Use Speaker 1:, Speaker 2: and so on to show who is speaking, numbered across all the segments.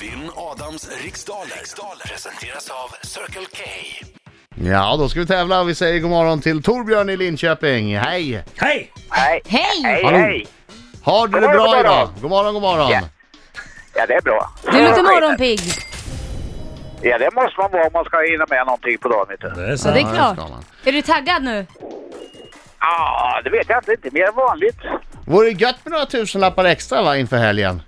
Speaker 1: Vinn Adams riksdaler. riksdaler presenteras av Circle K.
Speaker 2: Ja, då ska vi tävla. Vi säger god morgon till Torbjörn i Linköping. Hej!
Speaker 3: Hej!
Speaker 4: Hej!
Speaker 5: Hej!
Speaker 2: Hallå.
Speaker 4: hej!
Speaker 2: Har du
Speaker 4: God
Speaker 2: det
Speaker 4: morgon,
Speaker 2: bra
Speaker 4: god morgon.
Speaker 2: idag? God morgon, god morgon.
Speaker 4: Ja. Ja, det är bra.
Speaker 5: Du låter morgonpigg.
Speaker 4: Ja, det måste man vara om man ska hinna med någonting på dagen, vet du.
Speaker 3: Det är
Speaker 5: Ja,
Speaker 3: sant.
Speaker 5: det
Speaker 2: Ja,
Speaker 5: är
Speaker 2: det
Speaker 5: klart.
Speaker 2: ska man.
Speaker 5: Är du taggad nu?
Speaker 4: Ja, det vet jag inte. Inte mer än vanligt.
Speaker 2: Vore det gött med några tusenlappar extra va, inför helgen?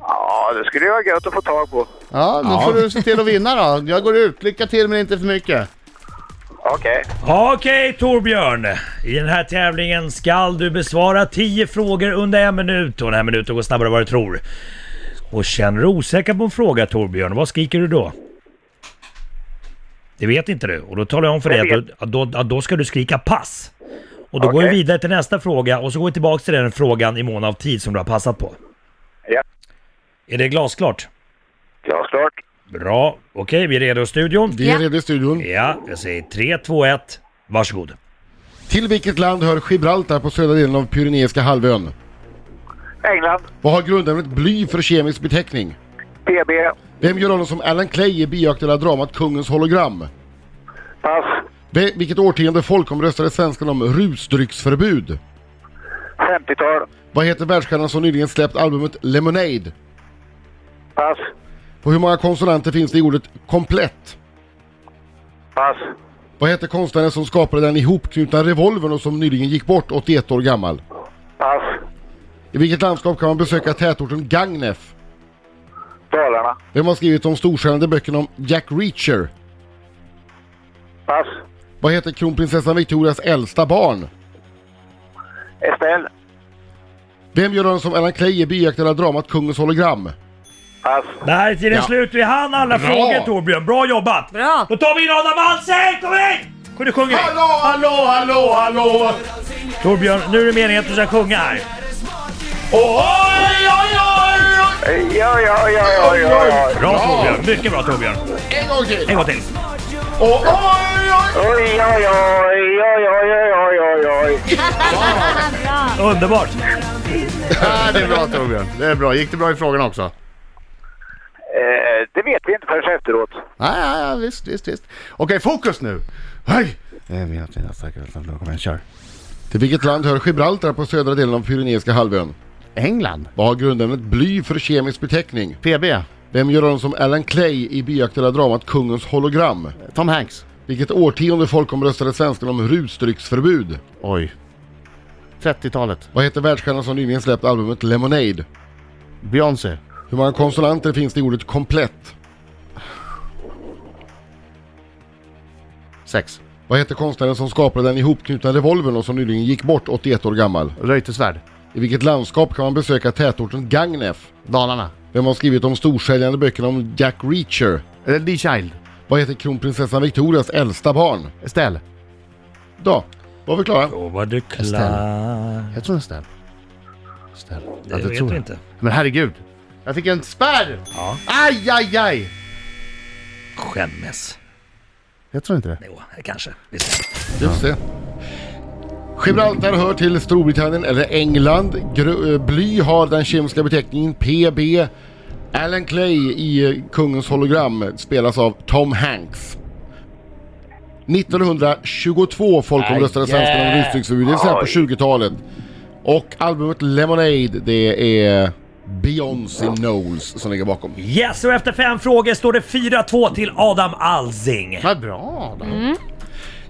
Speaker 4: Ja, det skulle ju vara gött att få tag på.
Speaker 2: Ja, då får du se till att vinna då. Jag går ut. Lycka till men inte för mycket.
Speaker 4: Okej.
Speaker 3: Okej Torbjörn! I den här tävlingen skall du besvara 10 frågor under en minut och den här minuten går snabbare än vad du tror. Och känner du osäker på en fråga Torbjörn, vad skriker du då? Det vet inte du och då talar jag om för dig
Speaker 4: Jag
Speaker 3: att, du- att, då, att då ska du skrika pass. Och då går vi
Speaker 4: Okej.
Speaker 3: vidare till nästa fråga och så går vi tillbaka till den frågan i mån av tid som du har passat på.
Speaker 4: Ja.
Speaker 3: Är det glasklart?
Speaker 4: Glasklart.
Speaker 3: Bra, okej vi är redo i studion.
Speaker 6: Vi är
Speaker 5: Ja.
Speaker 6: redo i studion.
Speaker 3: Ja, jag säger 3, 2, 1, varsågod.
Speaker 6: Till vilket land hör Gibraltar på södra delen av Pyreneiska halvön?
Speaker 4: England.
Speaker 6: Vad har grundämnet bly för kemisk beteckning?
Speaker 4: PB.
Speaker 6: Vem gör rollen som Alan Clay i bioaktuella dramat Kungens hologram?
Speaker 4: Pass.
Speaker 6: Ve- vilket årtionde folkomröstade svenskarna om rusdrycksförbud?
Speaker 4: 50-tal.
Speaker 6: Vad heter världsstjärnan som nyligen släppt albumet Lemonade?
Speaker 4: Pass.
Speaker 6: Och hur många konsonanter finns det i ordet komplett?
Speaker 4: Pass.
Speaker 6: Vad heter konstnären som skapade den ihopknutna revolvern och som nyligen gick bort, 81 år gammal?
Speaker 4: Pass.
Speaker 6: I vilket landskap kan man besöka tätorten Gagnef?
Speaker 4: Dalarna.
Speaker 6: Vem har skrivit de storstjärnade böckerna om Jack Reacher?
Speaker 4: Pass.
Speaker 6: Vad heter kronprinsessan Victorias äldsta barn?
Speaker 4: Estelle.
Speaker 6: Vem gör rollen som Alan Clay i bioaktuella dramat Kungens hologram?
Speaker 4: Pass.
Speaker 3: Där är tiden
Speaker 6: Ja.
Speaker 3: slut. Vi hann alla
Speaker 6: Bra.
Speaker 3: frågor Torbjörn. Bra jobbat!
Speaker 5: Bra.
Speaker 3: Då tar vi in Adam Alsing! Kom in! Kom du sjunger?
Speaker 6: hallå, hallå, hallå!
Speaker 3: Torbjörn, nu är det meningen att du ska sjunga här.
Speaker 4: Ja, ja, ja, ja, ja, ja.
Speaker 3: Bra Torbjörn. Mycket bra Torbjörn.
Speaker 6: En gång till!
Speaker 3: En gång till.
Speaker 6: Och oj, oj!
Speaker 4: Oj, oj, oj, oj, oj, oj, oj, oj.
Speaker 3: Underbart.
Speaker 2: Ja, det är bra Torbjörn. Det är bra. Gick det bra i frågan också?
Speaker 4: Eh, Det vet vi inte förrän efteråt.
Speaker 2: Ja, ja, ja visst, visst, visst. Okej, fokus nu! Hej! Det är mina fina starka välkomna. Kom igen, kör.
Speaker 6: Till vilket land hör Gibraltar på södra delen av Pyreneiska halvön?
Speaker 2: England.
Speaker 6: Vad har grundämnet bly för kemisk beteckning?
Speaker 2: PB.
Speaker 6: Vem gör rollen som Alan Clay i bioaktuella dramat Kungens hologram?
Speaker 2: Tom Hanks.
Speaker 6: Vilket årtionde folkomröstade svenskarna om rusdrycksförbud?
Speaker 2: Oj. 30-talet.
Speaker 6: Vad heter världsstjärnan som nyligen släppt albumet Lemonade?
Speaker 2: Beyoncé.
Speaker 6: Hur många konsonanter finns det i ordet komplett?
Speaker 2: Sex.
Speaker 6: Vad heter konstnären som skapade den ihopknutna revolvern och som nyligen gick bort 81 år gammal?
Speaker 2: Reutersvärd.
Speaker 6: I vilket landskap kan man besöka tätorten Gagnef?
Speaker 2: Dalarna.
Speaker 6: Vem har skrivit de storsäljande böckerna om Jack Reacher?
Speaker 2: Eh, Lee Child.
Speaker 6: Vad heter kronprinsessan Victorias äldsta barn?
Speaker 2: Estelle.
Speaker 6: Då var vi klara.
Speaker 3: Då var du klar.
Speaker 2: Jag tror Estelle. Estelle.
Speaker 3: Det
Speaker 2: det
Speaker 3: vet
Speaker 2: tror
Speaker 3: vi
Speaker 2: jag.
Speaker 3: inte.
Speaker 2: Men herregud. Jag fick en spärr!
Speaker 3: Ja.
Speaker 2: Aj, aj, aj!
Speaker 3: Skämmes.
Speaker 2: Jag tror inte det.
Speaker 3: Jo, kanske. Vi ser.
Speaker 6: Just det. Gibraltar hör till Storbritannien eller England. Gr- eh, bly har den kemiska beteckningen PB. Alan Clay i eh, Kungens hologram spelas av Tom Hanks. 1922 folkomröstade svenskarna om rusdrycksförbud, det vill säga på 20-talet. Och albumet Lemonade, det är Beyoncé Knowles som ligger bakom.
Speaker 3: Yes, och efter fem frågor står det 4-2 till Adam Alsing.
Speaker 2: Vad bra då.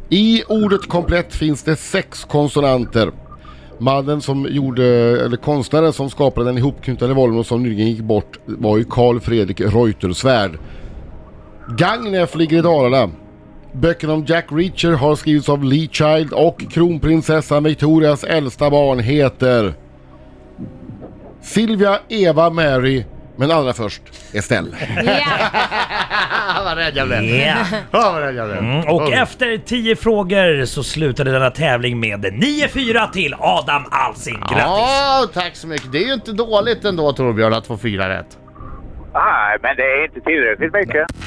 Speaker 6: I ordet komplett finns det sex konsonanter. Mannen som gjorde, eller konstnären som skapade den ihopknutna revolvern och som nyligen gick bort var ju Carl Fredrik Reuterswärd. Gagnef ligger i Dalarna. Böckerna om Jack Reacher har skrivits av Lee Child och kronprinsessan Victorias äldsta barn heter Silvia, Eva, Mary, men allra först Estelle.
Speaker 5: Ja.
Speaker 2: Ah, vad rädd jag blev.
Speaker 3: Yeah.
Speaker 2: Ah, vad rädd jag blev.
Speaker 3: Mm, och
Speaker 2: Oj.
Speaker 3: efter 10 frågor så slutade denna tävling med 9-4 till Adam Alsing. Grattis!
Speaker 2: Ja, tack så mycket. Det är ju inte dåligt ändå Torbjörn att få fyra rätt.
Speaker 4: Nej, men det är inte tillräckligt mycket.